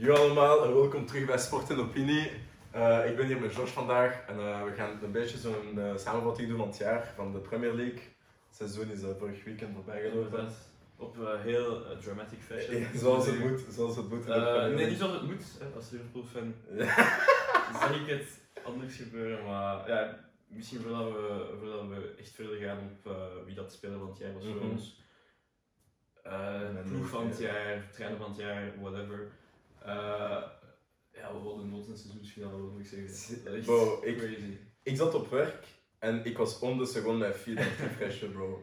Yo allemaal en welkom terug bij Sport en Opinie. Eh, ik ben hier met George vandaag en eh, we gaan een beetje zo'n eh, samenvatting doen van het jaar van de Premier League. Het seizoen is eh, vorig weekend voorbij gelopen. Inderdaad. Op eh, heel eh, dramatic fashion. Ja, zoals het moet, zoals het moet. in de Eh, Premier nee, League. niet zoals het moet. hè. Als Liverpool-fan zag ik het anders gebeuren. Maar ja, misschien voordat we, voordat we echt verder gaan op eh, wie dat speler van het jaar was voor Mhm. ons. Eh Mijn ploeg van het ja. jaar, trainer van het jaar, whatever. Eh, ja, we hadden nooit een seizoensfinale, wat moet ik zeggen. Dat is echt Bro, ik- crazy. Ik zat op werk en ik was om de seconde bij Fiat aan het refreshen, bro.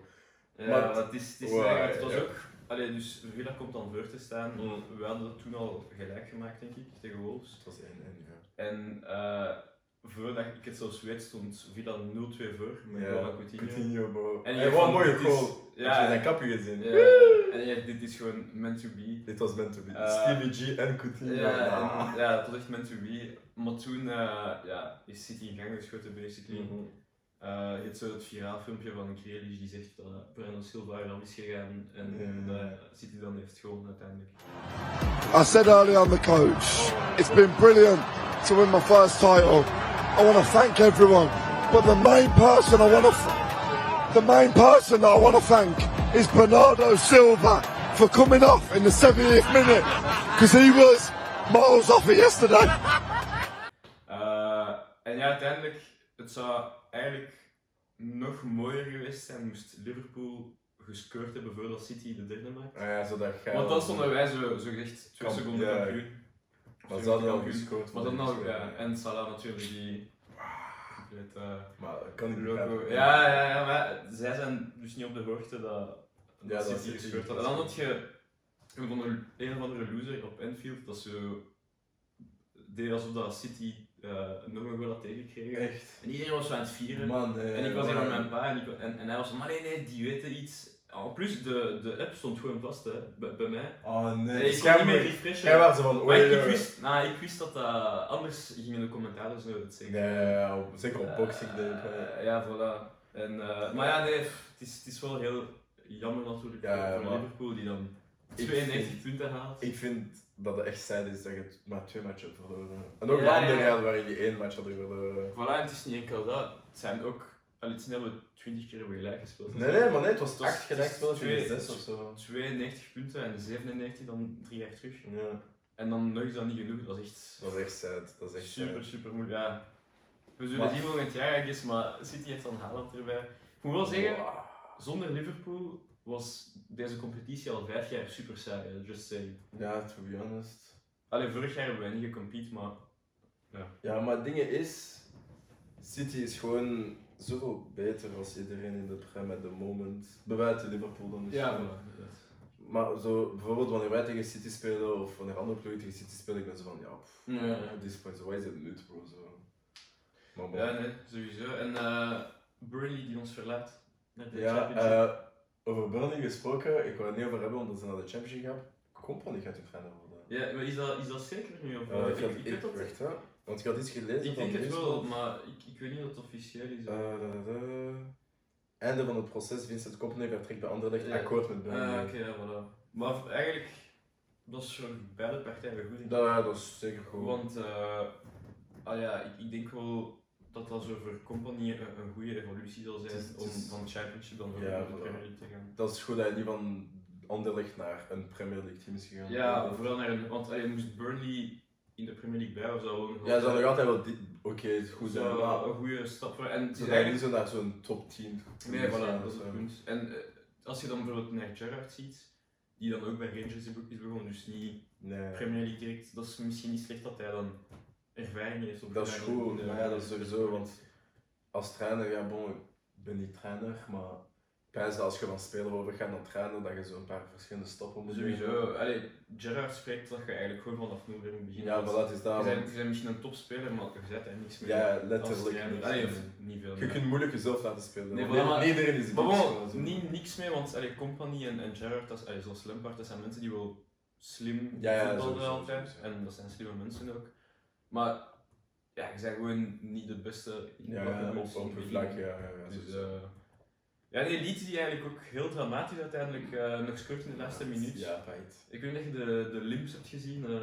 Ja, Maar- maar Eh, het is, het is Wow, eigenlijk- het was ja. ook... Allee, dus Villa komt dan voor te staan. Mm. We hadden toen al gelijk gemaakt, denk ik, tegen Wolves. Het was 1-1, ja. En eh, voordat ik het zelfs weet, stond Villa 0-2 voor. Met Ja, goal van Coutinho. Coutinho, bro. En je hey, van, wat een mooie dit is- goal. Heb je Ja, zijn ja, kapje gezien? en je- dit is gewoon meant to be. Dit was meant to be. Eh, Stevie G en Coutinho. Nou. Ja, nah. en, ja, het was echt meant to be. Maar toen eh, ja, is City in gang geschoten, basically. Mhm. Eh, je hebt zo het viraal filmpje van Grealish die zegt dat Bruno Silva eraf is gegaan en Ja. eh, City dan heeft gewonnen uiteindelijk. I said earlier on the coach, it's been brilliant to win my first title. I want to thank everyone, but the main person I want to, f- the main person that I want to thank is Bernardo Silva for coming off in the 70th minute because he was miles off it yesterday. Eh, en ja, uiteindelijk, het zou eigenlijk nog mooier geweest zijn moest Liverpool gescoord hebben voordat City de derde maakt. Ah ja, zodat jij... Want dan stonden wij zo, zo gezegd twee Kamp- seconden ja. kampioen. Maar ze hadden al Kampioen. gescoord. Maar dan nog nog, ja. En Salah natuurlijk, die compleet eh, Maar dat kan ik niet loco. begrijpen. Ja, ja, ja, maar zij zijn dus niet op de hoogte dat, Ja, dat dat City City gescoord had. En dan had je een van de- een of andere loser op Enfield dat zo deed alsof dat City eh, nog een goal had tegengekregen. Echt. En iedereen was zo aan het vieren. Man, eh, en ik was hier man. met mijn pa en, ik, en, en hij was van, maar nee, nee, die weten iets. En plus, de, de app stond gewoon vast hè, bij, bij mij. Oh nee. Nee, Dus ik kon jij niet meer moet- refreshen. Jij was zo van... maar oei, ik, ik oei. wist, nou, ik wist dat dat... Anders gingen de commentaren zo het zeggen. Nee, op- zeker op boxing Eh, denk ik. hè. ja, voilà. En, eh, maar ja, nee, pff, het is, het is wel heel jammer natuurlijk Ja, voor maar- Liverpool die dan Ik 92 vind- punten haalt. Ik vind dat het echt sad is dat je het maar twee matchen hebt verloren. En ook Ja, de andere ja. jaar waarin je één match hadden verloren. Voilà, en het is niet enkel dat. Het zijn ook... Allee, het is niet dat we 20 keer hebben gelijk gespeeld. Nee, nee, maar nee, het was Het was- acht gelijk spelen twee- tegen zes of zo. 92 punten en 97 dan drie jaar terug. Ja, En dan nog is dat niet genoeg. Dat is echt dat is echt sad. Dat is echt sad. super, super moeilijk. Ja. We zullen Maar- zien wat het jaar is, maar City heeft dan Haaland erbij. Ik moet wel zeggen, zonder Liverpool was deze competitie al vijf jaar super saai. hè, Just saying. Ja, to be honest. Alleen vorig jaar hebben we niet gecompete, maar Ja, maar het ding is, City is gewoon zoveel beter als iedereen in de prem at the moment. Buiten Liverpool dan dus. ja, Maar zo, bijvoorbeeld wanneer wij tegen City spelen of wanneer andere ploegen tegen City spelen, ik ben zo van ja, pff, Ja, ja. at this point, zo, wat is het nut bro? Zo. Maar bon. ja, nee, sowieso. En eh Burnley die ons verlaat. Naar de Ja, Championship. eh, over Burnley gesproken, ik wil het niet over hebben, omdat ze naar de Championship gaan. Company gaat hun fijner worden. ja, maar is dat, is dat zeker nu? Of, Eh, ik eh, had, weet dat- ik, wacht, hè. Want ik had iets gelezen Ik van denk het wel, Newsport. maar ik, ik weet niet of het officieel is. Ah, Eh, da, da, da. Einde van het proces, Vincent Kompany vertrekt bij Anderlecht, Ja. akkoord met Burnley. Ah, oké, ja, voilà. Maar v- eigenlijk, dat is voor beide partijen goed. denk ik. dat, dat is zeker goed. Want, eh, ah ja, ik, ik denk wel dat dat zo voor Company een, een goede evolutie zal zijn Het is- het om is- van Championship dan Ja, naar de voilà. Premier League te gaan. Dat is goed dat hij niet van Anderlecht naar een Premier League team is gegaan. Ja, vooral naar een, want allee, moest Burnley in de Premier League bij of zo gewoon Ja, ze hadden nog altijd wel dit. Oké, het is goed zijn. zou maar een goede stap voor. En het is ze zijn niet eigenlijk, zo naar zo'n top team. nee, voilà, dat is zo. het punt. En eh, als je dan bijvoorbeeld naar Gerrard ziet, die dan ook bij Rangers is be- is begonnen, dus niet Nee, Premier League direct, dat is misschien niet slecht dat hij dan ervaring heeft op dat is ervaring goed. in de- Maar ja, dat is sowieso. Want als trainer, ja, bon, ik ben niet trainer, maar ik pijs dat als je van speler overgaat naar trainer, dat je zo'n paar verschillende stappen moet doen. Sowieso, allee, Gerrard spreekt dat je eigenlijk gewoon vanaf Dus nul weer moet beginnen. Ja, maar dat is Je daar. bent, want- je bent misschien een topspeler, maar je zet er niks mee. Ja, Als letterlijk. trainer. Ah, niks. Allee, of niet veel Je meer. kunt moeilijk jezelf laten spelen. Nee, want voilà, maar- niet iedereen is Maar goed, bon, zo. niet, niks mee, want allee, Company en, en Gerrard, dat is, allee, zoals Lampard, dat zijn mensen die wel slim Ja, ja, voetballen sowieso, altijd. sowieso. En dat zijn slimme mensen ook. Maar ja, je bent gewoon niet de beste in Ja, wat je ja, doet, op, op in- een vlak, ja. ja, ja, Dus sowieso. eh, Ja, een elite die eigenlijk ook heel dramatisch uiteindelijk eh, nog scoort in de laatste minuut. Ja, feit. Ik weet niet of je de, de limps hebt gezien. eh, Dat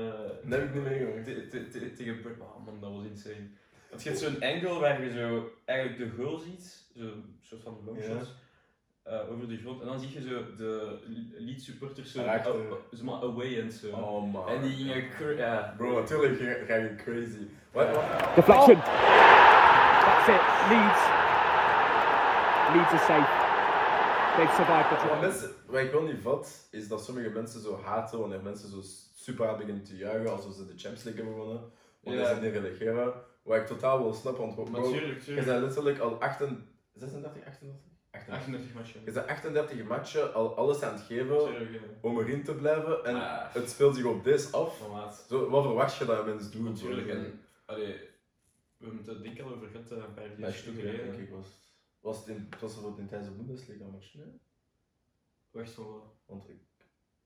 heb ik niet meegemaakt. Te- te- te- Tegen Bur- oh man, dat was insane. Want je hebt zo'n angle waar je zo eigenlijk de goal ziet, zo'n soort van longshot, eh, over de grond. En dan zie je zo de lead supporters zo, Raakte. a- zo maar away en zo. Oh man. En die gingen cr- ja. Bro, natuurlijk ga- ga je crazy. Wat? wat- Deflection. That's it. Leeds. Leeds are safe. They've survived the Wat, trial. mensen, wat ik wel niet vat, is dat sommige mensen zo haten wanneer mensen zo super hard beginnen te juichen alsof ze de Champions League hebben gewonnen. Wanneer Ja. ze niet reageren. Wat ik totaal wil snappen, want bro, Natuurlijk, je tuurlijk. bent letterlijk al 38, 36, 38? 38. 38 matchen. Je bent 38 matchen al alles aan het geven Tuurlijk, ja. om erin te blijven en Ah. het speelt zich op deze af. Van maat. Zo, wat verwacht je dat mensen doen? Natuurlijk. bro? En, allee, we hebben het denk ik al over gehad eh, een paar Bij jaar Stuttgart, denk geleden. ik, was het. Was het in, het was bijvoorbeeld in tijdens de Bundesliga match, nee? Wacht van wel. Want ik...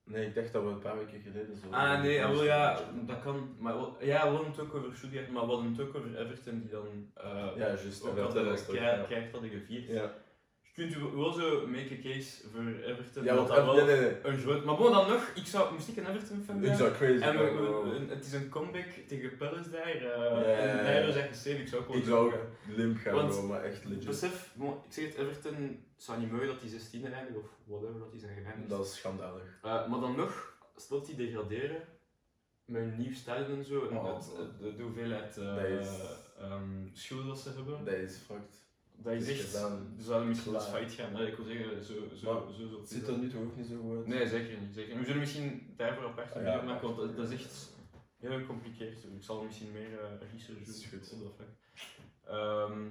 Nee, ik dacht dat we een paar weken geleden zo... Ah nee, ah, wel, ja, dat kan. Maar wel- ja, we hadden het ook over Stuttgart, maar we hadden het ook over Everton die dan eh Ja, juist. ook dat al de was het ook, kei- ja. keihard hadden gevierd. Ja, Je kunt u wel zo make a case voor Everton. ja dat want... dat wel Nee, nee, nee. een groot... Maar bon, dan nog, ik zou, moest ik een Everton fan Ik zou crazy En we- zijn, we- bro. een- het is een comeback tegen Palace daar. eh ja, En daar ja. is echt gesteen, ik zou ook wel Ik zo zou ook gaan. limp gaan, Want- bro, maar echt legit. Besef, bon, ik zeg het, Everton het zou niet mogen dat die 16 rijden of whatever dat die zijn gegaan. Dat is schandalig. Eh, maar dan nog, stel dat die degraderen met hun nieuw stadion en zo, en Oh, het, het- de, de hoeveelheid eh, Dat is- ehm, schulden dat ze hebben, Dat is fucked. dat is is echt, gedaan. ze zouden misschien Klaar. eens failliet gaan. Nee, ik wil zeggen, zo, zo, Maar zo, zo Het ziet er nu toch ook niet zo goed uit? Nee, zeker niet, zeker niet. We zullen misschien daarvoor apart Ah, een ja. video maken, want dat, dat is echt heel gecompliceerd. Ik zal misschien meer eh, research Is doen goed. op dat vlak. Ehm,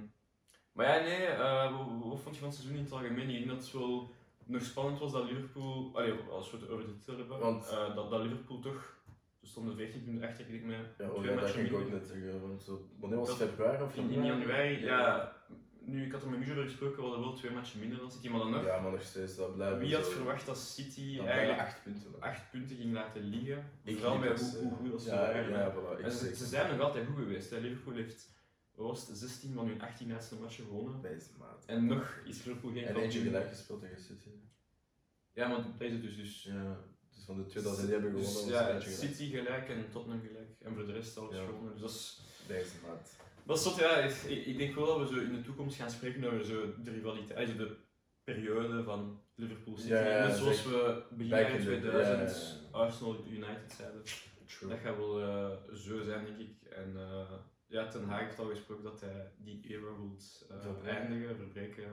maar ja, nee, eh, wat- wat vond je van het seizoen in het algemeen? Ik denk dat het wel nog spannend was dat Liverpool, allee, als we het over de titel hebben, Want- eh, dat, dat Liverpool toch, ze stonden 14 punten achter, ik denk met Ja, oh, twee ja, dat matchen ging ik ook minder. net zeggen. Want zo, wanneer was het Dat- februari of In, in januari, ja. Nu, ik had er met Mujo over gesproken, we hadden wel twee matchen minder dan City, maar dan nog. Ja, maar nog steeds, dat blijft Wie had verwacht dat City Dat eigenlijk blijven acht punten. acht punten ging laten liggen. Ik Vooral niet bij per hoe, se. hoe goed dat ze Ja, waren. ja, voilà. En Ik ze, zeg- ze zijn nog altijd goed geweest. Hè. Liverpool heeft wat was het, 16 van hun 18 laatste matchen gewonnen. Dat is maat. En nog is Liverpool geen En kampioen. eentje gelijk gespeeld tegen City. Ja, maar deze dus. dus Ja, dus van de twee dat ze die hebben gewonnen, dus, was ja, er eentje gelijk. City gelijk en Tottenham gelijk. En voor de rest alles Ja. gewonnen. Dus dat is, Dat is maat. dat is tot, ja, ik, ik denk wel dat we zo in de toekomst gaan spreken over zo de rivaliteit, also de periode van Liverpool City. Ja, ja, Net zoals zeker. we begin Back jaren in the- 2000 ja, Arsenal United zeiden. Dat True. gaat wel eh, zo zijn, denk ik. En eh, ja, Ten Haag heeft al gesproken dat hij die era wil eh, Verbreken. eindigen, verbreken.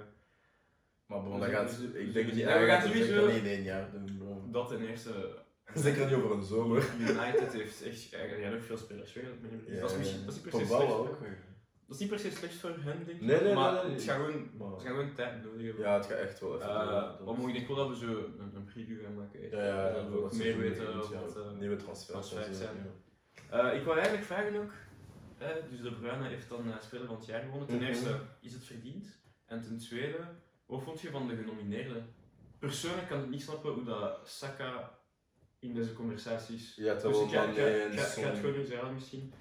Maar bro, We dat zullen- gaat... we zullen- Ik we denk zullen- niet... Ja, we Hij gaan gaat het zeker sowieso- niet in één jaar doen, bro. Dat ten eerste. Zeker niet over een zomer. United heeft echt eigenlijk ja, nog veel spelers weg. Dat, meen ik. Dus dat is misschien dat is niet per se Van Baal slecht. ook weer. Dat is niet per se slecht voor hen, denk ik. Nee, nee, maar nee, nee, het nee. gaat gewoon, Maar- ze gaan gewoon tijd nodig hebben. Ja, het gaat echt wel even... Eh, duren. maar moet ik denk wel dat we zo een, een preview gaan maken. echt. Ja, ja, ja. dat we ook dat meer seizoen weten begint, wat... ja. eh, Nieuwe transfers. transfers en zo, zijn. ja. Eh, ik wou eigenlijk vragen ook, eh, dus de Bruyne heeft dan eh, Speler van het jaar gewonnen. Ten Mhm. eerste, is het verdiend? En ten tweede, wat vond je van de genomineerden? Persoonlijk kan ik niet snappen hoe dat Saka in deze conversaties... Ja, Dus terwijl ik ga, ik ga, Mané ik en ga- ik ga het Son... gewoon eens herhalen misschien.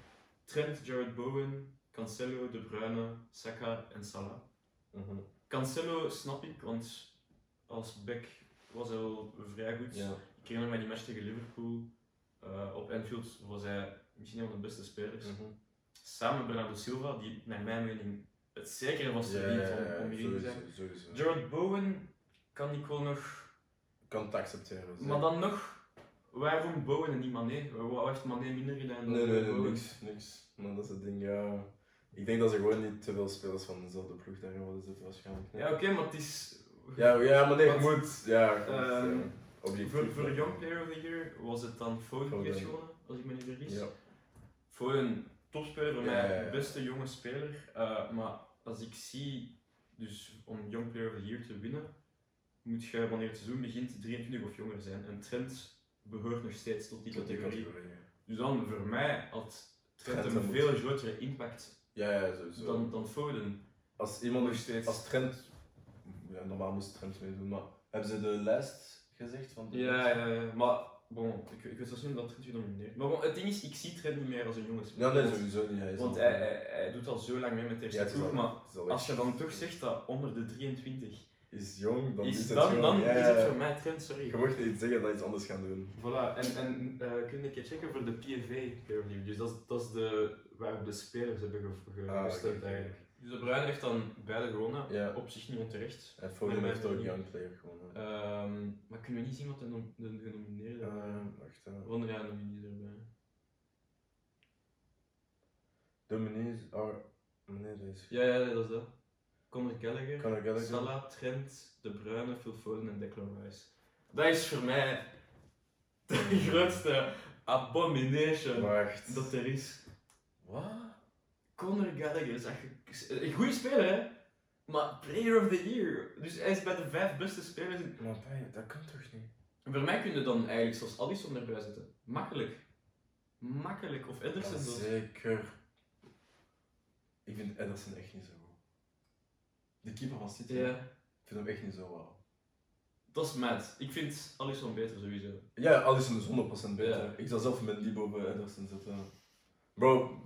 Trent, Jared Bowen, Cancelo, De Bruyne, Saka en Salah. Mhm. Cancelo snap ik, want als back was hij wel vrij goed. Ja. Ik herinner me die match tegen Liverpool. Eh, op Anfield was hij misschien een van de beste spelers. Mm. Samen met Bernardo Silva, die naar mijn mening het zekere was Ja, verdient om, om hierin te sowieso, zijn. sowieso. Jared Bowen kan ik wel nog... Kan het accepteren. Maar dan nog, waarom Bowen en niet Mané? Wa- Wat heeft Mané minder gedaan dan Nee, nee, nee, Bowen? niks, niks. Maar dat is het ding, ja. Ik denk dat ze gewoon niet te veel spelers van dezelfde ploeg daarin willen zitten, waarschijnlijk. Ja, oké, maar het is... ja, ja, maar nee, je Want- moet. Ja, goed, Ehm, ja. objectief. Voor, voor maar- Young Player of the Year was het dan Foden die heeft Foden. gewonnen, als ik me niet vergis. Ja. voor een topspeler, voor Ja, mij ja, ja. de beste jonge speler. Eh, maar als ik zie, dus om Young Player of the Year te winnen, moet je wanneer het seizoen begint 23 of jonger zijn. En Trent behoort nog steeds tot die Tot die categorie. categorie, ja. Dus dan voor mij had Trent, Trent een moet. veel grotere impact Ja, ja, sowieso. dan, dan Foden. als iemand Nog steeds. Als Trent. Ja, normaal moest Trent meedoen, maar hebben ze de lijst gezegd van. de- Ja, ja, ja, maar bon, ik, ik weet zelfs niet dat Trent genomineerd Maar bon, het ding is, ik zie Trent niet meer als een jonge Ja, speler. nee, sowieso niet. Hij is Want al- hij, hij, hij doet al zo lang mee met Ja, de eerste het is ploeg, al- maar het is al Als echt- je dan toch zegt dat onder de 23 is jong, dan Is, is het dan jong. dan Ja, is ja. het voor mij trend, sorry. Je mocht niet zeggen dat je iets anders gaan doen. Voilà, en, en eh kun je een keer checken voor de PNV Review. Dus dat is, dat is de, waar de spelers hebben ge- ge- Ah, gestemd oké. eigenlijk. Dus de Bruin heeft dan beide gewonnen, Eh, Ja. op zich niet onterecht. En Foden Nee, heeft maar- ook Young Player gewonnen. Ehm, maar kunnen we niet zien wat de, nom- de Oh, genomineerden Eh, waren? wacht, hè. Wonder jij nominees erbij? De meneer is... Oh, meneer is... Ja, ja, dat is dat. Conor Gallagher, Conor Gallagher. Salah, Trent, De Bruyne, Phil Foden en Declan Rice. Dat is voor mij de grootste abomination Wacht. dat er is. Wat? Conor Gallagher is echt een een goede speler, hè? Maar player of the year. Dus hij is bij de vijf beste spelers. in- Maar dat, dat kan toch niet? En Voor mij kun je dan eigenlijk zelfs Alisson erbij zetten. Makkelijk. Makkelijk. Of Ja, Ederson zelfs. zeker. Ik vind Ederson echt niet zo goed. De keeper van City. Ja, Ik vind hem echt niet zo wauw. dat is mad. Ik vind Alisson beter sowieso. Ja, Alisson is 100% beter. Ja. Ik zou zelf met Libo bij Ederson zetten. Bro.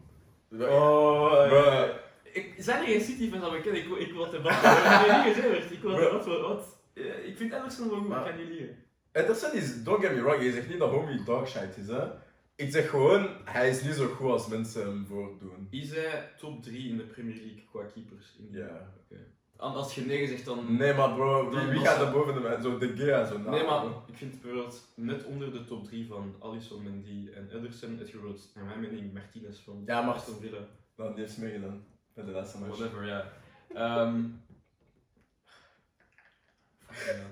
Oh, Bruh. ik, zijn er geen City-fans dat we kennen? Ik, wil- ik wil het debat. Ik heb niet gezegd, ik wil het debat. Wat, wat? Ja, Ik vind Ederson wel goed, Maar- ik kan niet liegen. Ederson is, don't get me wrong, je zegt niet dat homie dogshit is, hè. Ik zeg gewoon, hij is niet zo goed als mensen hem voordoen. Is hij top 3 in de Premier League qua keepers? In Ja. Als je nee zegt, dan... Nee, maar bro, wie, Dan wie was- gaat er boven de man? Zo De Gea, zo na. Nee, maar ik vind bijvoorbeeld net onder de top 3 van Alisson, Mendy en Ederson, het bijvoorbeeld, naar mijn mening, Martinez van Ja, maar- Aston Villa. Dan, Nou, die heeft meegedaan. Bij de laatste match. Whatever, ja. Ehm, ja.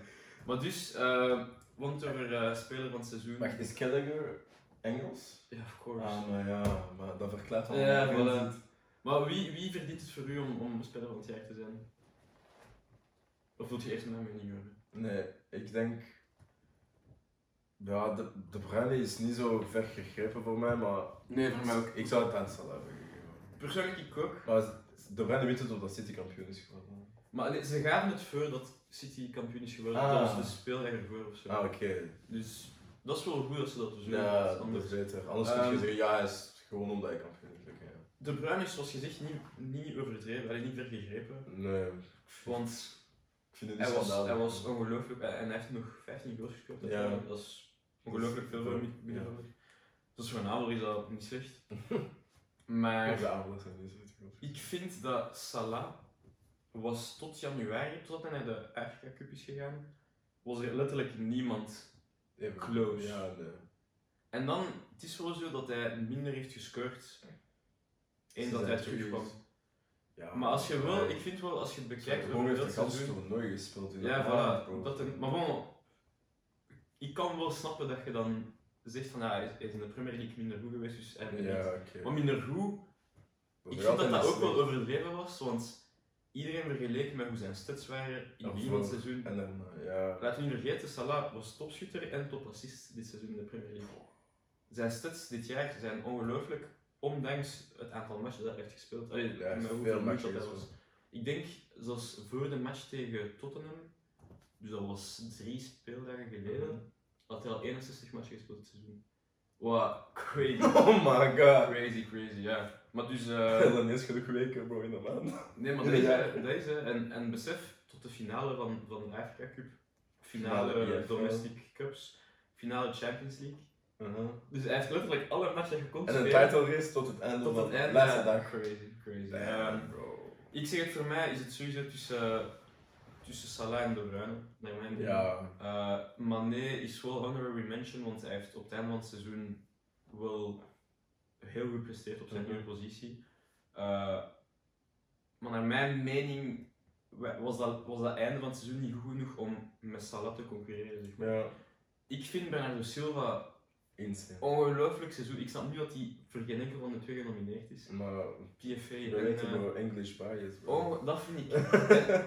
Maar dus, eh, want over eh, speler van het seizoen... Wacht, is Gallagher Engels? Ja, of course. Ah, maar ja, maar dat verklaart wel. Ja, waarom hij voilà. Maar wie, wie verdient het voor u om, om speler van het jaar te zijn? Of wilt je eerst mijn mening horen? Nee, ik denk. Ja, de, de Bruyne is niet zo ver gegrepen voor mij, maar Nee, ik zou het aan Salah hebben gegeven. Persoonlijk ik ook. Maar de Bruyne wint het omdat City kampioen is geworden. Maar nee, ze gaven het voor dat City kampioen is geworden. Ah. Dat was de speler ervoor of zo. Ah, oké. Dus dat is wel goed als ze dat dus doen. Ja, want dat anders- is beter. Anders Ehm. kun je zeggen, ja, hij is gewoon omdat hij kampioen is. Oké, ja. De Bruin is zoals gezegd niet, niet overdreven, hij niet ver gegrepen. Nee, ik Want vind het niet hij was, schandalig. hij was ongelooflijk en hij heeft nog 15 goals gescoord. dat Ja. is- Dat is ongelooflijk veel voor Ja. een middenvelder. Dus voor een aanval is dat niet slecht. Maar De aanvallen zijn niet zo goed. Ik vind dat Salah was tot januari, totdat hij naar de Afrika Cup is gegaan, was er letterlijk niemand. Even goed. Close. Ja, nee. En dan, het is wel zo dat hij minder heeft gescoord, eens dat hij terugkwam. Ja, Maar als je wel, ik vind. vind wel, als je bekijkt Ah, Gewoon heeft dat de kans seizoen- toernooi gespeeld. in Ja, Engeland, voilà. bro. Dat een, maar bon, ik kan wel snappen dat je dan zegt van, ja, hij is- hij is in de Premier League minder goed geweest, dus hij verdient. Ja, oké. Maar minder goed, Ik vind dat dat ook wel overdreven was, want iedereen vergeleken met hoe zijn stats waren in Ja, het begin van vooral. het seizoen. En dan, eh, ja. Laten we niet vergeten, Salah was topschutter en topassist dit seizoen in de Premier League. Zijn stats dit jaar zijn ongelooflijk, ondanks het aantal matchen dat hij heeft gespeeld. Allee, Ja, hij met heeft hoeveel veel minuten matchen dat hij was. gespeeld. Ik denk, zoals voor de match tegen Tottenham, dus dat was drie speeldagen geleden, Mhm. had hij al 61 matchen gespeeld dit seizoen. Wow, crazy. Oh my god. crazy, crazy, ja. Maar dus... Dat eh, is dan eerst genoeg weken, bro, in de maand. Nee, maar dat is, hè, dat is hè. En, en besef, tot de finale van, van de Afrika Cup, finale Finale E EFL. Domestic Cups, finale Champions League. Dus hij heeft letterlijk alle matchen gekomen. En een title race tot het einde tot van het de einde. laatste ja. dag. Crazy, crazy. Ehm, Damn, bro. ik zeg het voor mij, is het sowieso tussen, tussen Salah en De Bruyne, naar mijn mening. Ja, Eh, Mané is wel honorary mention, want hij heeft op het einde van het seizoen wel heel goed gepresteerd op zijn Mhm. nieuwe positie. Eh, maar naar mijn mening wa- was dat, was dat einde van het seizoen niet goed genoeg om met Salah te concurreren. Zeg maar. ja. Ik vind Bernardo Silva Insane. ongelooflijk seizoen. Ik snap niet dat hij voor geen enkel van de twee genomineerd is. Maar PFA we en... weten eh, bro, English bias, bro. oh, dat vind ik.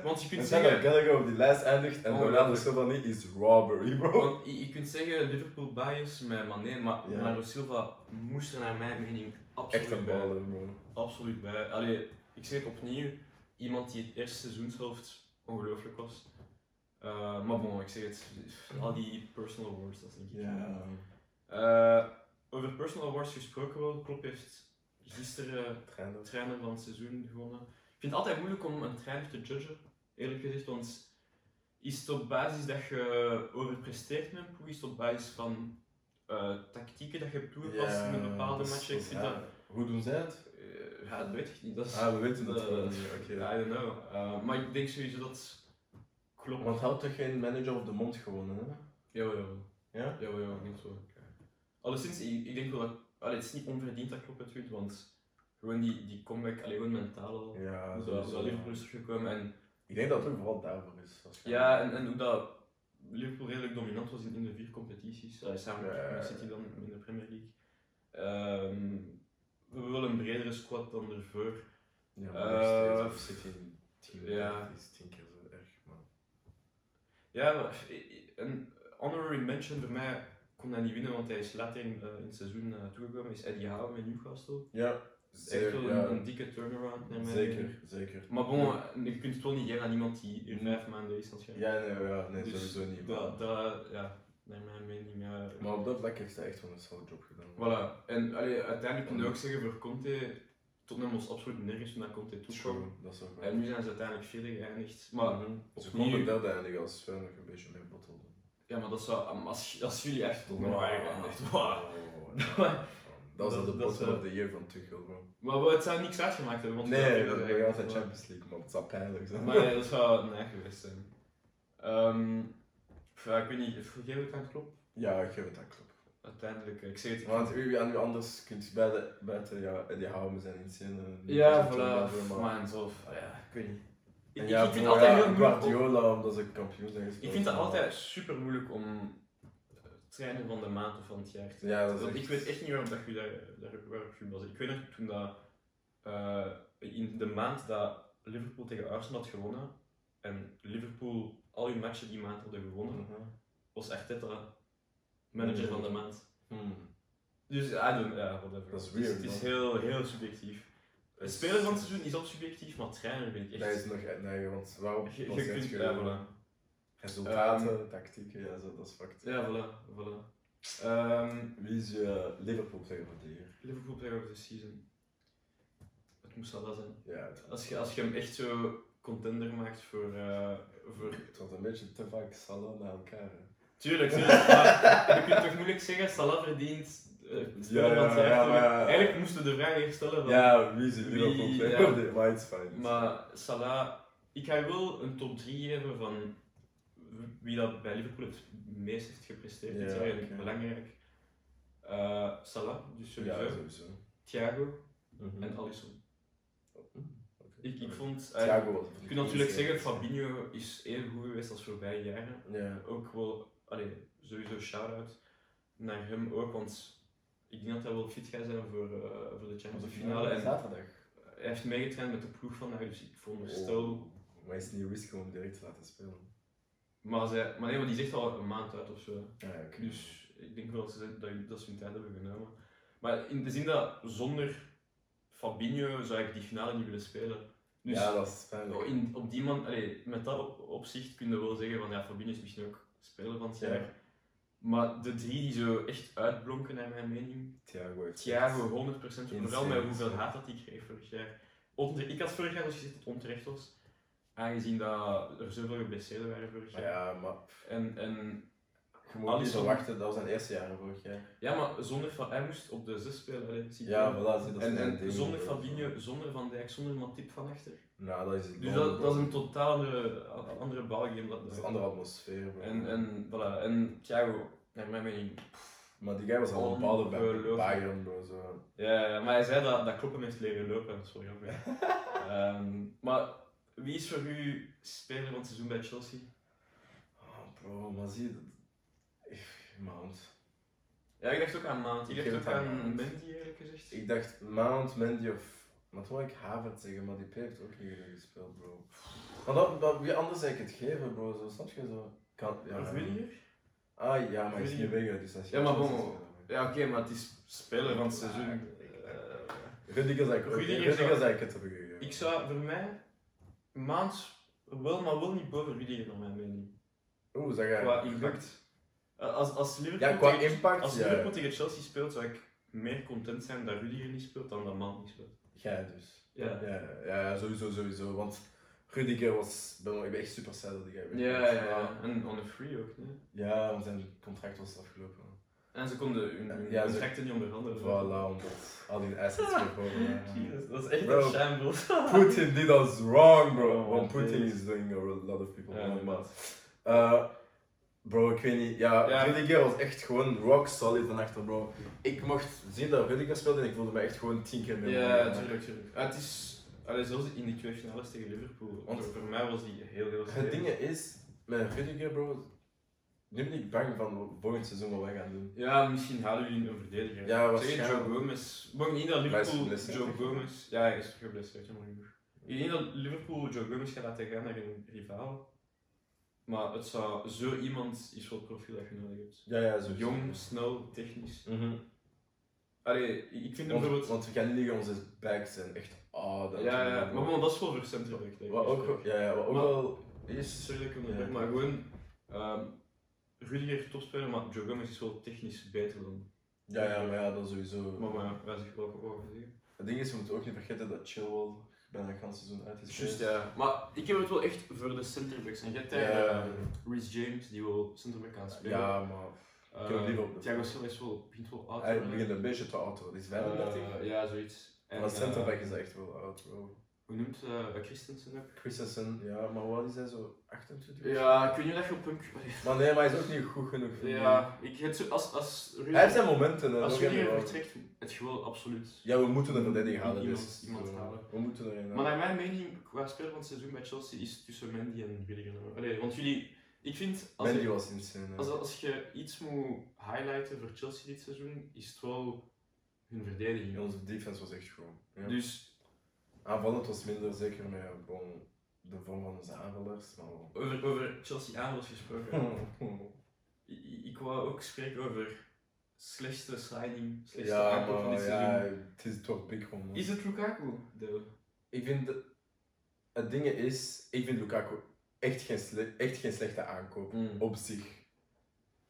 Want En je kunt zijn dat zeggen... Gallagher op die lijst eindigt en Oh, Ronaldo ja. Silva niet, is robbery, bro. Want je, je kunt zeggen Liverpool bias met Mané, maar Ja. Bernardo Silva moest er naar mijn mening absoluut Echt een bij. baller, bro. Absoluut bij. Allee, ik zeg het opnieuw, iemand die het eerste seizoenshelft ongelooflijk was. Eh, maar bon, ik zeg het, al die personal awards, dat is niet Ja. Eh, over personal awards gesproken wel, Klopp heeft gisteren Trainer. trainer van het seizoen gewonnen. Ik vind het altijd moeilijk om een trainer te judgen, eerlijk gezegd, want Is het op basis dat je overpresteert met een ploeg? Is het op basis van eh, tactieken dat je toepast in een bepaalde dat is- match? Ik dat- vind ja. dat... Hoe doen zij het? eh, ja, dat weet ik niet. Dat is, Ah, we weten het dat- gewoon niet, oké. I don't know. Eh, maar ik denk sowieso dat het klopt. Want hij had toch geen manager op de mond gewonnen, hè? Jawel, jawel. Ja? Jawel, jawel, ik denk het wel. Alleszins, ik, ik denk wel dat... Allee, het is niet onverdiend dat klopt natuurlijk, want gewoon die, die comeback, alleen gewoon mentaal al. Ja, zo, sowieso. zo Liverpool is teruggekomen en Ik denk dat het ook vooral daarvoor is. waarschijnlijk. Ja, en, en ook dat Liverpool redelijk dominant was in, in de vier competities. Allee, samen Ja. eh, met Man City dan in de Premier League. Ehm, we hebben wel een bredere squad dan ervoor. Ja, Eh, maar zit in tien ja. dat is tien keer zo erg, man. Ja, maar i- i- een honorary mention voor mij kon hij niet winnen, want hij is later in, eh, in het seizoen eh, toegekomen. Is Eddie Howe met Newcastle. Ja, Echt wel zeker. een, een Ja, dikke turnaround. naar mijn- zeker, Mm. zeker. Maar bon, eh, je kunt het wel niet geven aan iemand die in vijf maanden is natuurlijk. Ja, nee, ja, nee Dus sowieso niet. Maar, Dat, dat, ja, naar mijn mening. eh, maar op dat vlak heeft hij echt wel een solid job gedaan. Voilà, en allee, uiteindelijk kun je ook zeggen voor Conte, Tottenham was absoluut nergens toen naar Conte toekwam. True, dat is ook wel. En nu zijn ze uiteindelijk vierde geëindigd. Maar, Mhm. ze opnieuw- konden derde eindigen als Sven nog een beetje mee bottelde. ja, maar dat zou, als, als jullie echt Tottenham waren geëindigd, Wow. wow. Maar- Oh, Dat was Dat- de dat is bottom wel- of the year van Tuchel, man. Maar wel, het zou niks uitgemaakt hebben, want Nee, dat dat was eigenlijk- altijd Champions League, man. Het zou pijnlijk zijn. Maar ja, dat zou nee geweest zijn. Ehm, pff, ja, ik weet niet, geef het aan klopt. Ja, ik geef het aan klopt. Uiteindelijk, eh, ik zeg het. ik- Want wie aan wie anders kunt bij de, buiten ja, die houden zijn insane. eh, Ja, voilà, man, zo, ja, ik weet niet. Ik, ik- ja, ik vind voor, het altijd ja, heel moeilijk om- Guardiola, omdat ze kampioen zijn gespeeld. Ik vind het maar- altijd super moeilijk om eh, trainer van de maand of van het jaar te Ja, dat is Want echt- Ik weet echt niet waarom dat je daar, daar waarop je was. Ik weet nog toen dat, eh, in de maand dat Liverpool tegen Arsenal had gewonnen en Liverpool al hun matchen die maand hadden gewonnen, Mhm. was Arteta Mm. manager van de maand. Hmm. Dus I don't, ja, whatever. Dat is Het is- weird, Het is man. heel, heel subjectief. Dat is- Speler van het seizoen is al subjectief, maar trainer vind ik Dat is echt. nog nee, want waarom? Je, je want kunt, het ja, ge- voilà. Ehm, Resultaten, tactieken, ja, zo, dat is fucked. Ja, voilà, voilà. Ehm, Wie is je Liverpool player van de year? Liverpool player of the season. Het moest Salah zijn. Ja, het Als je, als je hem echt zo contender maakt voor... eh, voor... het was een beetje te vaak Salah naar elkaar. Hè. Tuurlijk, tuurlijk. maar je kunt toch moeilijk zeggen, Salah verdient... eh, het spel Ja, van het ja, jaar. ja, maar ja. Eigenlijk moesten we de vraag eerst stellen van... Ja, wie is je Liverpool Wie- player ja. of the year? Maar it's fine. it's Maar Salah... Ik ga je wel een top 3 geven van wie dat bij Liverpool het meest heeft gepresteerd. Ja, dit jaar en oké. belangrijk. Eh, Salah, dus fine. sowieso. Ja, sowieso. Thiago en En- Alisson. Oké. Ik, ik vond... eh, Thiago was het. Je kunt natuurlijk eh, zeggen, Fabinho is even goed geweest als voorbije jaren. Ja. Ook wel, allee, sowieso shout-out naar hem ook, want ik denk dat hij wel fit gaat zijn voor, eh, voor de Champions League finale. En zaterdag. Oh. hij heeft meegetraind met de ploeg van haar, dus ik vond hem stil. Maar is het niet risk om hem direct te laten spelen? Maar, zij, maar nee, maar die zegt al een maand uit of zo. Ja, Ah, oké. Dus ik denk wel dat ze, dat, dat ze hun tijd hebben genomen. Maar in de zin dat zonder Fabinho zou ik die finale niet willen spelen. Dus ja, dat is pijnlijk. In, op die man, allee, met dat op, opzicht kun je wel zeggen van ja, Fabinho is misschien ook speler van het Ja. jaar. Maar de drie die zo echt uitblonken naar mijn mening. Thiago heeft Thiago 100%, vooral Insane. met hoeveel haat dat ik kreeg vorig jaar. Ontere- ik had vorig jaar dus gezegd dat het onterecht was. Aangezien dat er zoveel geblesseerden waren vorig Maar jaar. ja, maar En, en je moet niet Alisson. verwachten, dat was zijn eerste jaar vorig jaar. ja, maar zonder Fa- hij moest op de zes spelen. allee, zie je Ja, wel. voilà, zie, dat is en, mijn en ding. zonder Fabinho, zonder Van Dijk, zonder Matip van achter. Nou, dat is het Dus wel. dat, dat is een totaal andere, andere balgame. Dat, Dat is een andere atmosfeer. bro. En, en, voilà. en Thiago, naar mijn mening. Maar die guy was al een bepaalde bij Ongelooflijk. Bayern, bro. Zo. Ja, maar hij zei dat, dat Klopp hem heeft leren lopen, dat is wel grappig. Ehm, maar wie is voor u speler van het seizoen bij Chelsea? Oh, bro, maar zie je dat? Ik- Mount. Ja, ik dacht ook aan Mount. Ik Ik dacht geef ook het aan aan Mount. Mendy, eerlijk gezegd. Ik dacht Mount, Mendy of... Maar toen wou ik Havertz zeggen, maar die P heeft ook niet genoeg gespeeld, bro. Maar dat, dat, wie anders zou ik het geven, bro. Zo, snap je? Zo. Kan, ja, Of Rudiger? Ah, ja, maar hij is niet Rudiger. weg, dus dat is Ja, maar geen bon, Chelsea speler. Ja, oké, maar het is speler van het seizoen. Eh, Rudiger zou ik ook- Rudiger Rudiger zou- zou ik het hebben gegeven. ik zou voor mij Mount wel, maar wel niet boven Rudiger, naar mijn mening. Oeh, zeg jij. Qua impact. Eh, Als, als Liverpool Ja, qua tegen- impact, Als ja. Liverpool tegen Chelsea speelt, zou ik meer content zijn dat Rudiger niet speelt dan dat Mount niet speelt. Jij dus. Ja. Ja, ja, ja, sowieso, sowieso. Want Rudiger was, ben, ik ben echt super sad dat hij weg Ja, was. ja, ja. Maar- En on a free ook, nee? Ja, want zijn contract was afgelopen. En ze konden hun, hun Ja, ze- contracten niet onderhandelen. Voilà, omdat al die assets weer voor. Jezus, dat is echt Bro. een shambles. Putin did us wrong, bro. Oh, Want man, Putin please. is doing a lot of people Ja, wrong, maar... inderdaad. Eh, bro, ik weet niet. Ja, Ja. Rudiger was echt gewoon rock solid van achter, bro. Ik mocht zien dat Rudiger speelde en ik voelde me echt gewoon tien keer meer. Ja, tuurlijk, tuurlijk. Ah, het is, allee, zelfs in die twee finales tegen Liverpool, Want- want voor mij was die heel, heel Het sterk. ding is, met Rudiger, bro, nu ben ik bang van volgend seizoen wat wij gaan doen. Ja, misschien hadden jullie een Ja, verdediger. Zeg je waarschijnlijk. Joe Gomez. Maar ik denk niet dat Hij is Liverpool geblesseerd, Joe hè? Gomez. Ja, hij is geblesseerd, jammer genoeg. Ik denk dat Liverpool Joe Gomez gaat laten gaan naar een rivaal. Maar het zou, zo iemand is voor het profiel dat je nodig hebt. Ja, ja, zo. Jong, snel, technisch. Mhm. Allee, ik vind hem Want, bijvoorbeeld. want we gaan niet liggen, onze backs zijn echt ah, oud. en ja, zo, ja, bro. maar bon, dat is voor centrum. denk ik. Wat ook, ja, ja, wat ook Maar- wel Is is. sorry dat ik onderbreek, Ja. maar gewoon. ehm Rudiger topspeler, maar Joe Gomez is wel technisch beter dan. Ja, ja, maar ja, dat is sowieso. Maar, maar wij zeggen wel over zeggen. Het ding is, we moeten ook niet vergeten dat Chilwell bijna het hele seizoen uit is. Juist, ja. Maar ik heb het wel echt voor de centerbacks. En je hebt Ja, daar ja, ehm, Reece James, die wel centerback kan spelen. ja, maar Ehm, ik heb het liever op de- Thiago Silva is wel, begint wel oud. te hij worden. begint een beetje te oud te worden. Hij is 35. Eh, ja, zoiets. En, maar centerback eh, is echt wel oud, bro. Hoe noemt eh Christensen ook? Christensen, ja, maar wat is hij zo? 28? Ja, kun je dat je op een... Maar nee, maar hij is ook niet goed genoeg. voor mij. Ja, ik, het, zo- als, als Rudiger- Hij heeft zijn momenten. hè, Als dat kennen Rudiger we wel. vertrekt, het geweld absoluut. Ja, we moeten een verdediger halen. Iemand- dus, iemand eh, halen. We moeten er een Maar halen. naar mijn mening, qua speler van het seizoen bij Chelsea is tussen Mendy en Rudiger. nummer- Allee, want jullie, ik vind, als, Mendy je, was insane. hè. als, als je iets moet highlighten voor Chelsea dit seizoen, is het wel hun verdediging. Onze defense was echt goed. Ja. Dus Aanvallend was minder, zeker met eh, gewoon de vorm van onze aanvallers. Maar... wel. over, over Chelsea aanvals gesproken. ik, ik- ik wou ook spreken over slechtste signing, slechtste ja, aankoop van maar dit ja, seizoen. het is toch big one. man. Is het Lukaku? De, Ik vind de- het ding is, ik vind Lukaku echt geen, sle- echt geen slechte aankoop op zich.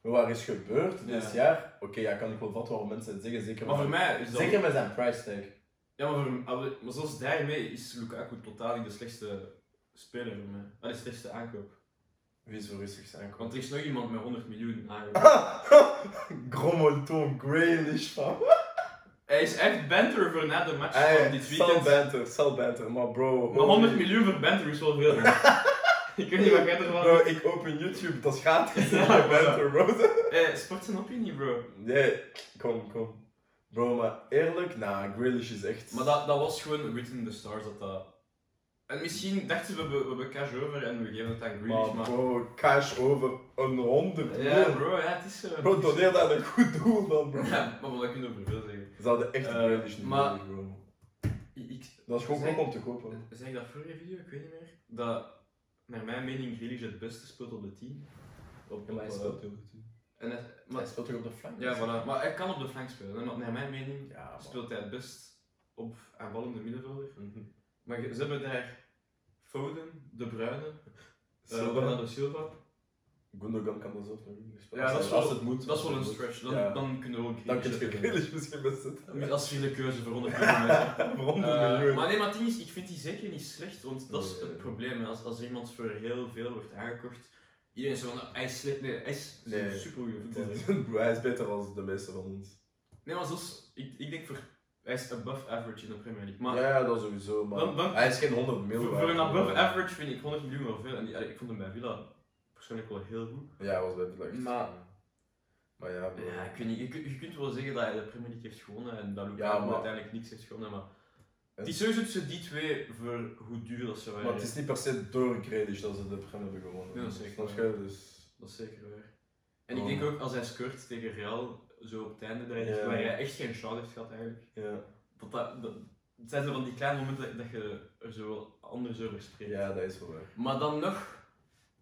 Maar Wat er is gebeurd dit Ja. jaar, oké, ja, kan ik wel vatten waarom mensen het zeggen, zeker Maar met- voor mij is dat... zeker met zijn price tag. Ja, maar, voor, allee, maar zelfs daarmee is Lukaku totaal niet de slechtste speler voor mij. Ah, de slechtste aankoop. Wie is voor rustig zijn aankoop? Want er is nog iemand met 100 miljoen aan. Grommelton, Grealish, van. Hij is echt banter voor na de match van Hey, dit Sal weekend. Banter, Sal Banter, maar bro. oh, Maar holy- 100 miljoen voor banter is wel veel. hè. ik weet niet wat jij ervan Bro, ik open YouTube, dat gaat niet. Ja, Ja, voilà. Banter, bro. Eh, sport zijn opinie, bro. Nee, kom, kom. Bro, maar eerlijk, nou, Grealish is echt. Maar dat, dat was gewoon written in the stars dat dat... En misschien dachten we, we, we hebben cash over en we geven het aan Grealish, Maar maar... bro, cash over een 100 Ja, miljoen. bro, ja, het is... eh, Bro, doneer dat een goed doel dan, bro. Ja, maar wat kun je over veel zeggen? Ze hadden echt Eh, Grealish niet maar- nodig, bro. Ik, ik- Dat is gewoon Zeg- gok om te kopen. Zeg ik dat vorige video? Ik weet niet meer. Dat, naar mijn mening, Grealish het beste speelt op de 10. Op, op, eh, en het- maar, speelt toch op de flank? ja, voilà. Maar hij kan op de flank spelen. hè, Maar naar mijn mening Ja, man. speelt Eh, hij het best op aanvallende middenvelder. Mhm. Maar je- ze hebben daar Foden, De Bruyne, eh Silva. Bernardo Silva. Gundogan kan dat zelf nog niet spelen. Ja, dat is wel, Als het moet. dat is wel als een het moet. stretch. Dan, Ja. dan kunnen we ook Dan kun Grealish je zetten. Grealish misschien best zetten. Met Als vierde keuze voor 100 miljoen. Voor 100 Eh, miljoen. maar nee, maar het ding is, ik vind die zeker niet slecht, want dat is Nee. het probleem. hè. Als, als iemand voor heel veel wordt aangekocht, iedereen is zo van, hij is slecht, nee, hij is Nee. een supergoeie voetballer. Bro, hij is beter dan de meeste van ons. Nee, maar zoals, ik, ik denk voor, hij is above average in de Premier League. Maar Ja, ja, dat sowieso, maar Dan- dan- hij is geen 100 voor, miljoen. voor een waard. above average vind ik 100 miljoen wel veel. En die, allee, ik vond hem bij Villa persoonlijk wel heel goed. Ja, hij was bij Villa echt. Maar- Maar ja, bro. Ja, ik weet niet, je, kunt- je kunt wel zeggen dat hij de Premier League heeft gewonnen en dat Lukaku Ja, maar- uiteindelijk niks heeft gewonnen, maar... En- Het is sowieso tussen die twee voor hoe duur dat ze waren. Maar het is niet per se door Grealish dat ze de Prem hebben gewonnen. Ja, dat is echt Snap waar. je? Dus... Dat is zeker waar. En Oh. ik denk ook als hij scoort tegen Real, zo op het einde, dat hij, Ja. waar hij echt geen shot heeft gehad eigenlijk. Ja. Dat, dat, dat, het zijn zo van die kleine momenten dat, dat je er zo wel anders over spreekt. ja, dat is wel waar. Maar dan nog,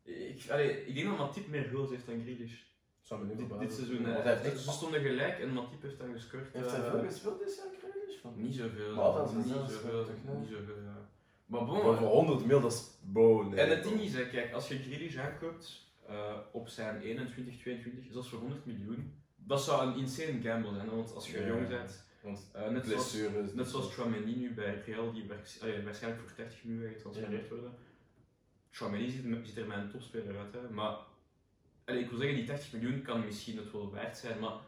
ik, allee, ik denk dat Matip meer goals heeft dan Grealish. Zou me niet Dit, verbazen. dit seizoen. Want hè. hij heeft Ze echt... ze stonden gelijk en Matip heeft dan gescoord. Heeft hij eh, veel gespeeld dit jaar, Grealish? Van... Niet zoveel. Maar altijd niet zelfs, zoveel. toch, nee? Niet zoveel, Oh, ja. Maar Bro, bon, eh, voor 100 mil, dat is... Bro, nee. En het ding is, hè, kijk, als je Grealish aankoopt eh, op zijn 21, 22, zelfs voor 100 miljoen, dat zou een insane gamble zijn. hè, Want als je Ja. dus jong bent, Want eh, net, zoals, blessures... net zoals Tramini nu bij Real, die waarsch- allee, waarschijnlijk voor 30 miljoen gaat getransfereerd worden, Chouameni ziet, er- ziet er mijn topspeler uit, hè. maar allee, ik wil zeggen, die 80 miljoen kan misschien het wel waard zijn, maar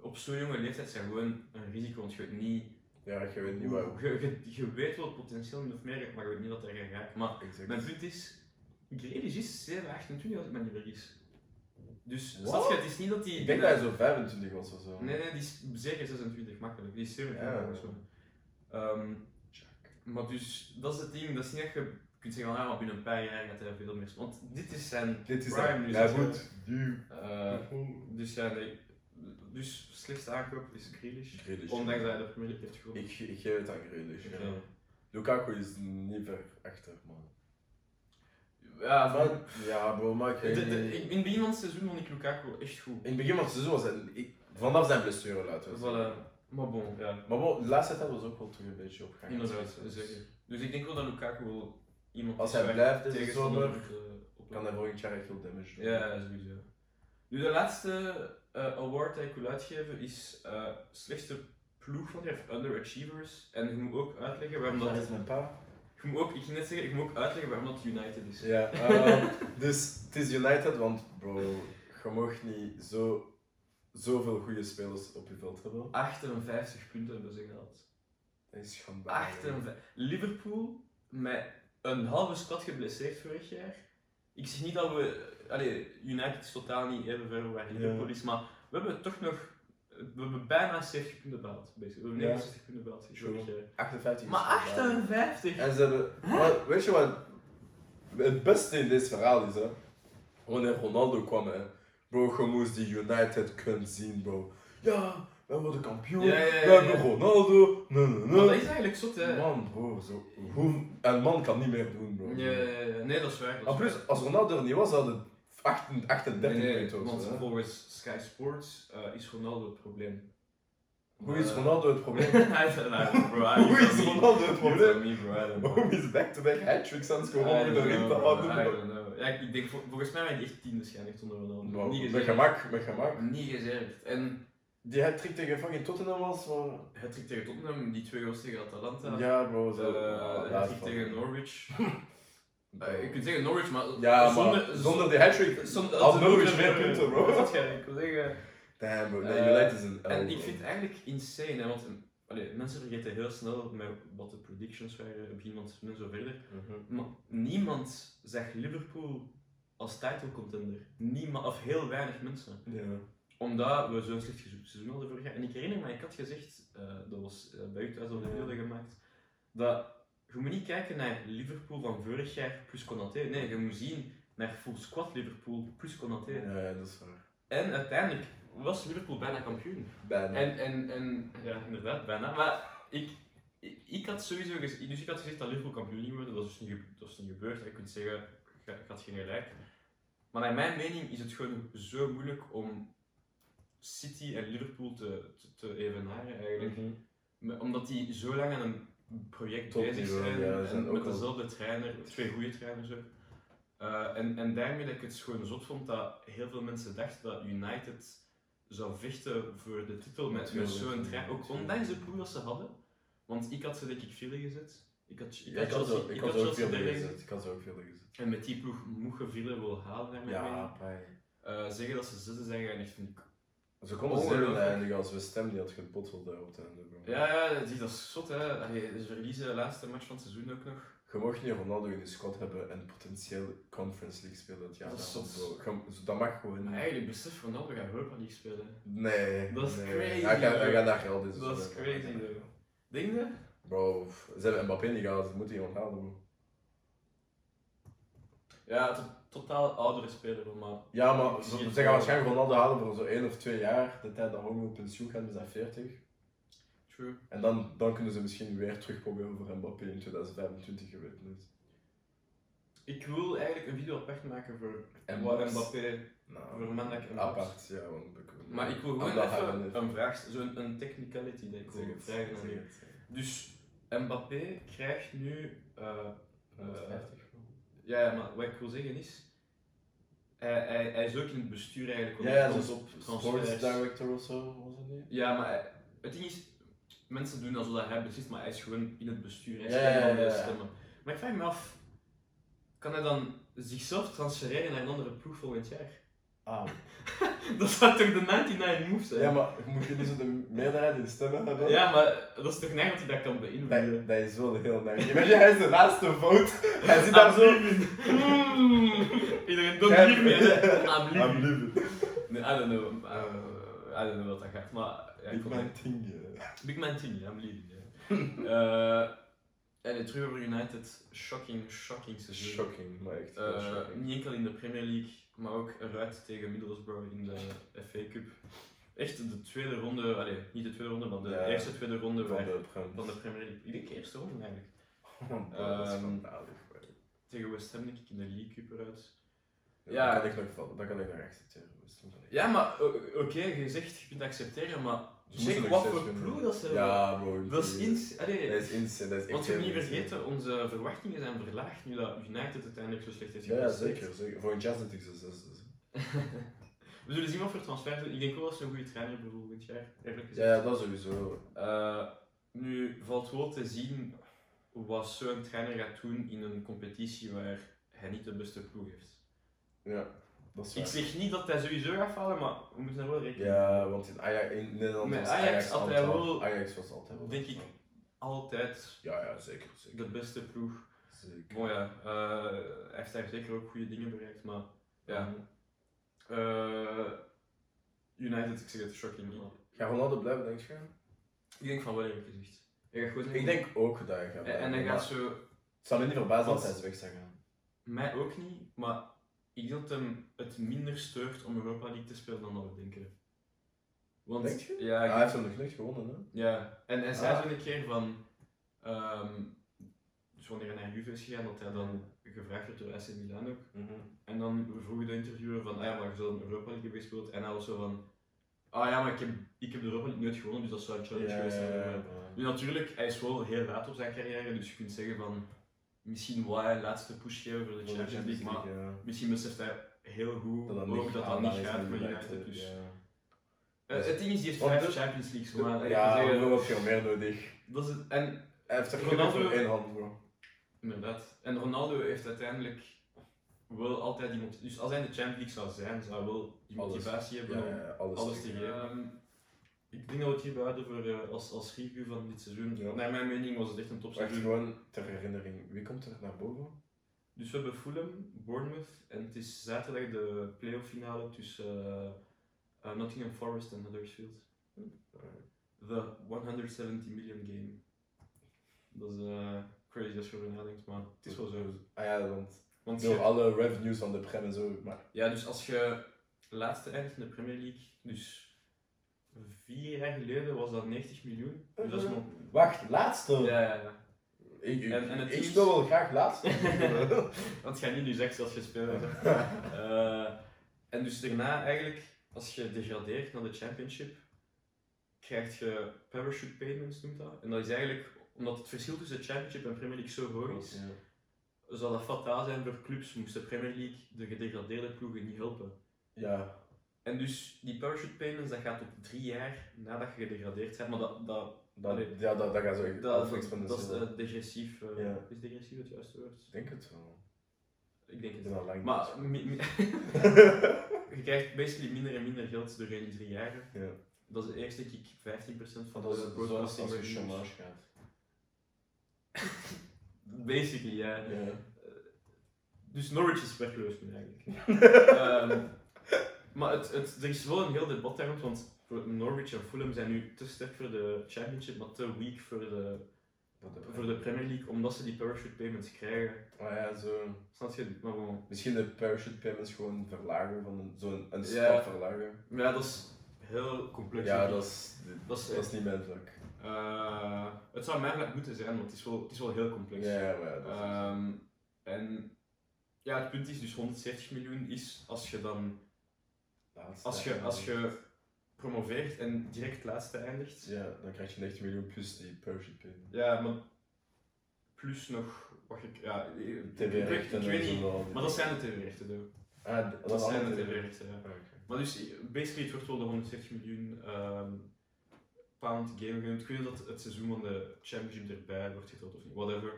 op zo'n jonge leeftijd zijn gewoon een risico, want je weet niet, Ja, je weet niet waar. hoe- je, je, je weet wel het potentieel min of meer, maar je weet niet wat er gaat raken. Maar Exact. mijn punt is, Grealish is 7, 28 als ik me niet vergis. Dus, Wat? snap je, het is niet dat hij... Ik denk dat hij zo 25 was of zo. Nee, nee, die is zeker 26 makkelijk. Die is 27 Ja. of zo. Ehm, maar dus, dat is het ding. Dat is niet dat je kunt zeggen van, ja, maar binnen een paar jaar gaat hij veel meer... spelen. Want dit is zijn Dit is prime. dat. dus Ja, dat is goed. Nu. wel- eh, dus ja, nee. Dus, slechtste aankoop is Grealish. Grealish. Ondanks dat hij de Premier League heeft gewonnen. Ik, ge- ik geef het aan Grealish. Oké. Ja. Lukaku is niet ver achter, man. Ja, maar... Maar, ja, bro, maar ik De, weet de- niet. in het begin van het seizoen vond ik Lukaku echt goed. In het begin van het seizoen was hij... ik- vanaf zijn blessure, laten we zeggen. Voilà. Maar bon, ja. Maar bon, de laatste tijd was ook wel terug een beetje op gang. Inderdaad, zeker. Dus ik denk wel dat Lukaku wel iemand Als hij is waar blijft deze tegenstander zomer, moet, eh, op- Kan hij volgend jaar echt veel damage doen. Ja, sowieso. Nu, de laatste eh, award die ik wil uitgeven is eh, slechtste ploeg van het jaar, of underachievers. En ik moet ook uitleggen waarom Dat dat... is mijn pa. Ik moet ook, ik ging net zeggen, ik moet ook uitleggen waarom dat United is. Ja, eh, dus het is United, want bro, je mag niet zo, zoveel goede spelers op je veld hebben. 58 punten hebben ze gehaald. Dat is schandalig. 58. Liverpool, met een halve squad geblesseerd vorig jaar. Ik zeg niet dat we... Allee, United is totaal niet even ver waar Liverpool Ja. is, maar we hebben toch nog... We hebben bijna 70 punten behaald. basically. We hebben Ja. 69 punten behaald vorig True. jaar. 58 is Maar schandalig. 58! En ze hebben... maar weet je wat het beste in dit verhaal is, hè? Wanneer Ronaldo kwam, hè? Bro, je moest die United kunnen zien, bro. Ja, wij worden kampioen, Ja, ja, ja, we hebben ja. äh, Ronaldo, nee, nee, Maar dat nee. is eigenlijk zot, hè? Man, bro, zo, hoe, een man kan niet meer doen, bro. Ja, ja, ja. nee, dat is En waar. dat is waar. Ah, plus, als Ronaldo er niet was, hadden het 38 Nee, nee, punten of want zo, hè. volgens Sky Sports eh, is Ronaldo het probleem. Hoe is Eh, Ronaldo het probleem? hij is nou, bro. hij Hoe is niet- Ronaldo het Hij is probleem? niet, bro. hij is Waarom is back-to-back hat-tricks aan het I scoren om don't de ring know, te bro, houden? I bro? don't know. Ja, ik denk, vol- volgens mij ben ik echt tiende schijnlijk zonder Ronaldo. Bro, niet Met gezegd. gemak, met gemak. Niet gezegd. En Die hat-trick tegen fucking Tottenham was, maar... het trick tegen Tottenham, die twee goals tegen Atalanta. Ja, bro, zo. Eh, Ja, het trick van- tegen Norwich. Bro. Eh, Je kunt zeggen Norwich, maar Ja, zonder, maar zonder die hat-trick Soms had Norwich meer punten, bro. Dat ga ik wel zeggen. Damn, bro. Nee, Eh, United is een L, En ik bro. vind het eigenlijk insane, hè, want mm, allee, mensen vergeten heel snel met wat de predictions waren, begin van het seizoen en zo verder. Mhm. Maar niemand zag Liverpool als title contender. Niemand, of heel weinig mensen. Ja. Omdat we zo'n slecht gezo- seizoen hadden vorig jaar. En ik herinner me, ik had gezegd, eh, dat was eh, bij u thuis al de Ja. beelden gemaakt, dat je moet niet kijken naar Liverpool van vorig jaar plus Konaté. Nee, je moet zien naar full squad Liverpool plus Konaté. Ja, ja, dat is waar. En uiteindelijk was Liverpool bijna kampioen. Bijna. En, en, en ja, inderdaad, bijna. Maar ik, ik, ik had sowieso gez- dus ik had gezegd dat Liverpool kampioen ging worden. Dat is dus niet, gebe- dat is niet gebeurd. Je kunt zeggen, ik had- ik had geen gelijk. Maar naar mijn mening is het gewoon zo moeilijk om City en Liverpool te, te, te evenaren eigenlijk. Mhm. Maar Omdat die zo lang aan een project Top bezig niveau, zijn, ja, ze en zijn ook met al- dezelfde trainer, twee goede trainers ook. Eh, en, en daarmee dat ik het gewoon zot vond dat heel veel mensen dachten dat United zou vechten voor de titel met, met Natuurlijk, zo'n trein. Ook natuurlijk. ondanks de ploeg dat ze hadden. Want ik had ze denk ik vierde gezet. Ik had, ik Ja, had ik had Chelsea, ook- ik ik had had ook Chelsea veel derde gezet. gezet. Ik had ook veel gezet. En met die ploeg moet je vierde wil halen naar mijn mening. Ja, pijn. Eh, zeggen dat ze zesde zijn geëindigd vind ik... Ze konden Oh, zevende ja. eindigen als we stem die had gepoteld daar op het einde. Bro. Ja, ja, zie, dat is zot hè. Allee, Ze verliezen de laatste match van het seizoen ook nog. Je mocht niet Ronaldo in de squad hebben en potentieel Conference League spelen dat jaar. Dat is daarop, zot. bro. Je- zo- Dat mag gewoon Maar niet. eigenlijk besef Ronaldo gaat Europa League spelen. Nee. Dat is nee. crazy, Hij gaat, hij bro. gaat daar geld in Dat is stoppen. crazy, though. Denk je? Bro, pff, ze hebben Mbappé niet gehaald, ze moeten die onthalen, bro. Ja, to- totaal oudere speler, maar... Ja, maar ze, Misschien ze gaan waarschijnlijk Ronaldo halen voor zo één of twee jaar. De tijd dat Ronaldo op pensioen gaat, we zijn 40. True. En dan, dan kunnen ze misschien weer terugproberen voor Mbappé in 2025, je weet het niet. Ik wil eigenlijk een video apart maken voor En Mbappé. Max. Mbappé. Nou, Voor Mandak en Max. apart, ja. Want ik, Maar ik wil Ah, gewoon dat gaan we even niet. een vraag, zo'n een technicality dat ik Zeg wil het, vragen aan zeg je. het, zeg het. Dus Mbappé krijgt nu... eh, 150, bro. ja, ja, maar wat ik wil zeggen is... Hij, hij, hij is ook in het bestuur eigenlijk. want Ja, hij ja, komt dus op transfers. sports director of zo was het niet? Ja, maar hij- het ding is, mensen doen alsof dat hij beslist, maar hij is gewoon in het bestuur. Hij is Ja, ja, een van de ja, ja. stemmen. Maar ik vraag me af, kan hij dan zichzelf transfereren naar een andere ploeg volgend jaar? Ah. Dat zou toch de 99 move zijn? Ja, maar moet je niet zo de meerderheid in stemmen hebben? Ja, maar dat is toch nergens dat hij dat kan Dat, beïnvloeden? dat is wel heel nergens. Weet je, hij is de laatste vote. Hij zit daar zo. Mm. Ah, Iedereen doet Ja. Ah, hiermee. hè. I'm I'm leaving. leaving. Nee, I don't know. Uh, I don't know wat dat gaat. Maar ja, ik Ik vond het- mijn ding. eh. Big Man 10, I'm leaving. Ja. Eh en het Ruber United, shocking, shocking seizoen. Shocking, maar echt. Eh, wel shocking. niet enkel in de Premier League, maar ook eruit tegen Middlesbrough in de FA Cup. Echt de tweede ronde, allee, niet de tweede ronde, maar de Ja, eerste tweede ronde Van waar- de Prem. van de Premier League. Ik denk eerste ronde eigenlijk. Dat is Ehm, schandalig. man. Tegen West Ham denk ik in de League Cup eruit. Ja, ja. dat kan ik nog vallen. Dat kan ik nog accepteren. Dus toen ben ik- Ja, maar o- oké, je zegt je kunt accepteren, maar Ze moesten nog zeg wat steeds voor winnen. ploeg dat ze Ja, bro. dat is ins... Allee, Dat is insane. Dat is echt Want we heel moeten niet insane. vergeten, onze verwachtingen zijn verlaagd nu dat United uiteindelijk zo slecht heeft Ja, ja, gepresteerd. zeker. zeker. Voor een jazz natuurlijk. zo- dus- zo- zo- zo. we zullen zien wat voor transfers doen. Ik denk wel dat ze een goede trainer hebben volgend jaar, eerlijk Ja, gezegd. ja, dat sowieso. Eh, nu valt wel te zien wat zo'n trainer gaat doen in een competitie waar hij niet de beste ploeg heeft. Ja, dat is Ik waar. zeg niet dat hij sowieso gaat falen, maar we moeten er wel rekening mee Ja, want in, Ajax, in Nederland Met was Ajax Ajax, had hij altijd, wel- Ajax was altijd wel Denk best, ik man. altijd Ja, ja, zeker. zeker. de beste ploeg. Zeker. Mooi ja, eh, hij heeft daar zeker ook goede dingen bereikt, maar ja. Mm. Eh, United, ik zeg het, shocking. Ga Ronaldo blijven, denk je? Ik denk van wel eerlijk gezegd. Hij gaat gewoon Ik denk ook dat hij gaat En, en blijven, hij maar gaat zo... Het zou me niet verbazen als Want- hij is weg zou gaan. Mij ook niet, maar ik denk dat hem het minder steurt om Europa League te spelen dan dat we denken. Want, Denk je? Ja, Ah, ik- hij heeft hem nog nooit gewonnen, hè? ja. En hij zei Ah. zo'n keer van... ehm, dus wanneer hij naar Juve is gegaan, dat hij dan gevraagd werd door AC Milan ook. Mhm. En dan vroeg de interviewer van, ah ja, maar je zou een Europa League hebben gespeeld. En hij was zo van, ah ja, maar ik heb, ik heb de Europa League nooit gewonnen, dus dat zou een challenge Ja, geweest ja, zijn. voor ja, mij." Nu natuurlijk, hij is wel heel laat op zijn carrière, dus je kunt zeggen van, misschien wou hij een laatste push geven voor de ja. Champions League, maar Ja. misschien beseft hij heel goed dat ook dat maar dat niet is gaat met nu United. Dus. ja. Eh, het ding is, die heeft Want vijf de- Champions Leagues gewonnen. Ja, Ik wil we zeggen, hebben veel meer nodig. dat is het. En Hij heeft er genoeg Ronaldo- voor één hand, bro. Inderdaad. En Ronaldo heeft uiteindelijk wel altijd die motivatie. Dus als hij in de Champions League zou zijn, zou hij wel die Alles. motivatie hebben Ja, om ja, alles, alles te geven. Ehm, ik denk dat we het hierbij houden voor, eh, als, als review van dit seizoen. Ja. Naar mijn mening was het echt een Wacht, topseizoen. gewoon ter herinnering. Wie komt er naar boven? Dus we hebben Fulham, Bournemouth en het is zaterdag de playoff finale tussen eh, eh, Nottingham Forest en Huddersfield. The 170 million game. Dat is eh, crazy als je erover nadenkt, maar het is wel zo. Ah ja, want Want door je- alle revenues van de Prem en zo, maar Ja, dus als je laatste eindigt in de Premier League, dus vier jaar geleden was dat 90 miljoen. Dus dat is Mhm. nog... Wacht, laatste! Ja, ja, ja. Ik, ik, En- en het ik is- speel wel graag laatste. Want ga niet nu zeggen als je speelt. hè. Eh, en dus daarna eigenlijk, als je degradeert naar de championship, krijg je parachute payments, noemt dat. En dat is eigenlijk, omdat het verschil tussen championship en Premier League zo hoog is, Ja. zou dat fataal zijn voor clubs, moest de Premier League de gedegradeerde ploegen niet helpen. ja. En dus die parachute payments, dat gaat op drie jaar nadat je gedegradeerd bent, maar dat, dat, Dat, Allee. ja, dat, dat gaat zo echt dat, afexponentieel. dat is eh, degressief. eh, Ja. Is degressief het juiste woord? Ik denk het wel. Ik denk Ik het ben al lang Maar niet. mi- mi- je krijgt basically minder en minder geld door in die drie jaren. Ja. Dat is de eerste kick 15% van Dat is de het zoals broadcasting als je revenues. chômage gaat. Basically, ja. Ja. Dus Norwich is werkloos nu eigenlijk. Ehm, maar het, het, er is wel een heel debat daar rond, want voor Norwich en Fulham zijn nu te sterk voor de Championship, maar te weak voor de Voor voor de Premier League, omdat ze die parachute payments krijgen. Ah ja, zo. Snap je? Maar bon. Misschien de parachute payments gewoon verlagen, van een, zo'n een Ja. stap verlagen. Maar ja, dat is heel complex. Ja, dat is, Dat is- dat is niet mijn vak. Eh, het zou mijn vlak moeten zijn, want het is wel, het is wel heel complex. Ja, maar ja, dat is... Ehm, en ja, het punt is dus 170 miljoen is als je dan laatste als je, eigenlijk. als je promoveert en direct laatste eindigt. Ja, dan krijg je 19 miljoen plus die parachute payments. Ja, maar plus nog wat ik ja, ik- ik, weet- ik TV-rechten en weet zo niet. wel. Maar dat zijn de TV-rechten. hè. Ah, d- Dat zijn de allemaal TV-rechten. ja. Ah, oké. Maar dus, basically, het wordt wel de 160 miljoen ehm, pound game genoemd. Ik weet niet of dat het seizoen van de Championship erbij wordt geteld of niet, whatever.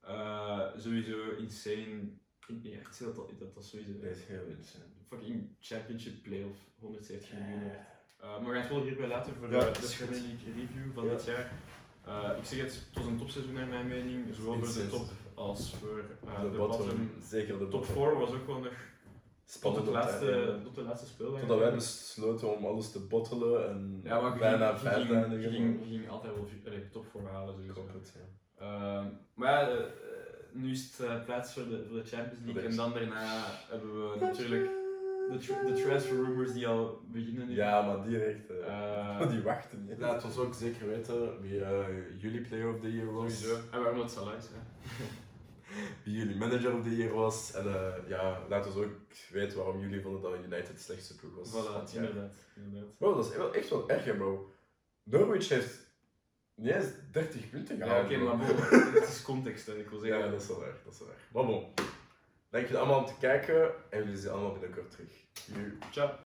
Eh, sowieso insane Ik denk echt dat dat, dat, dat sowieso Dat is heel- het is een fucking championship playoff 170 miljoen waard. Eh, maar we gaan het wel hierbij laten voor de- Ja, de dat is Premier goed. League review van Ja. dit jaar. Eh, ik zeg het, het was een topseizoen naar mijn mening, zowel voor de Insane. top als voor eh, de de bottom, bottom. zeker de De top bottom. 4 was ook wel nog tot, het om te laatste, eindigen. tot de laatste speeldag. Totdat wij besloten om alles te bottelen en Ja, maar je bijna ging- je vijf ging- eindigen. je ging, je ging altijd wel allee, top 4 halen Ik sowieso. hoop het, ja. Ehm, maar ja, eh, eh, nu is het eh, plaats voor de, voor de Champions League. Voor de En dan daarna hebben we natuurlijk de, tra- de transfer rumors die al beginnen nu. Ja, maar direct. eh, Eh, die wachten niet. Laat ons ook zeker weten wie eh, jullie Player of the Year was. sowieso. En waarom dat Salah is, hè. Wie jullie manager of the year was. En eh, ja, laat ons ook weten waarom jullie vonden dat United de slechtste ploeg was. Voilà, Want ja. inderdaad. inderdaad. Bro, dat is wel echt wel erg, hè, bro. Norwich heeft niet eens 30 punten Ja, gehaald. oké, bro. maar bon, het is context, hè. Ik wil zeggen, Ja, dat is wel erg, dat is wel erg. Maar bon, dank jullie allemaal om te kijken en jullie zien allemaal binnenkort terug. Joe. ciao.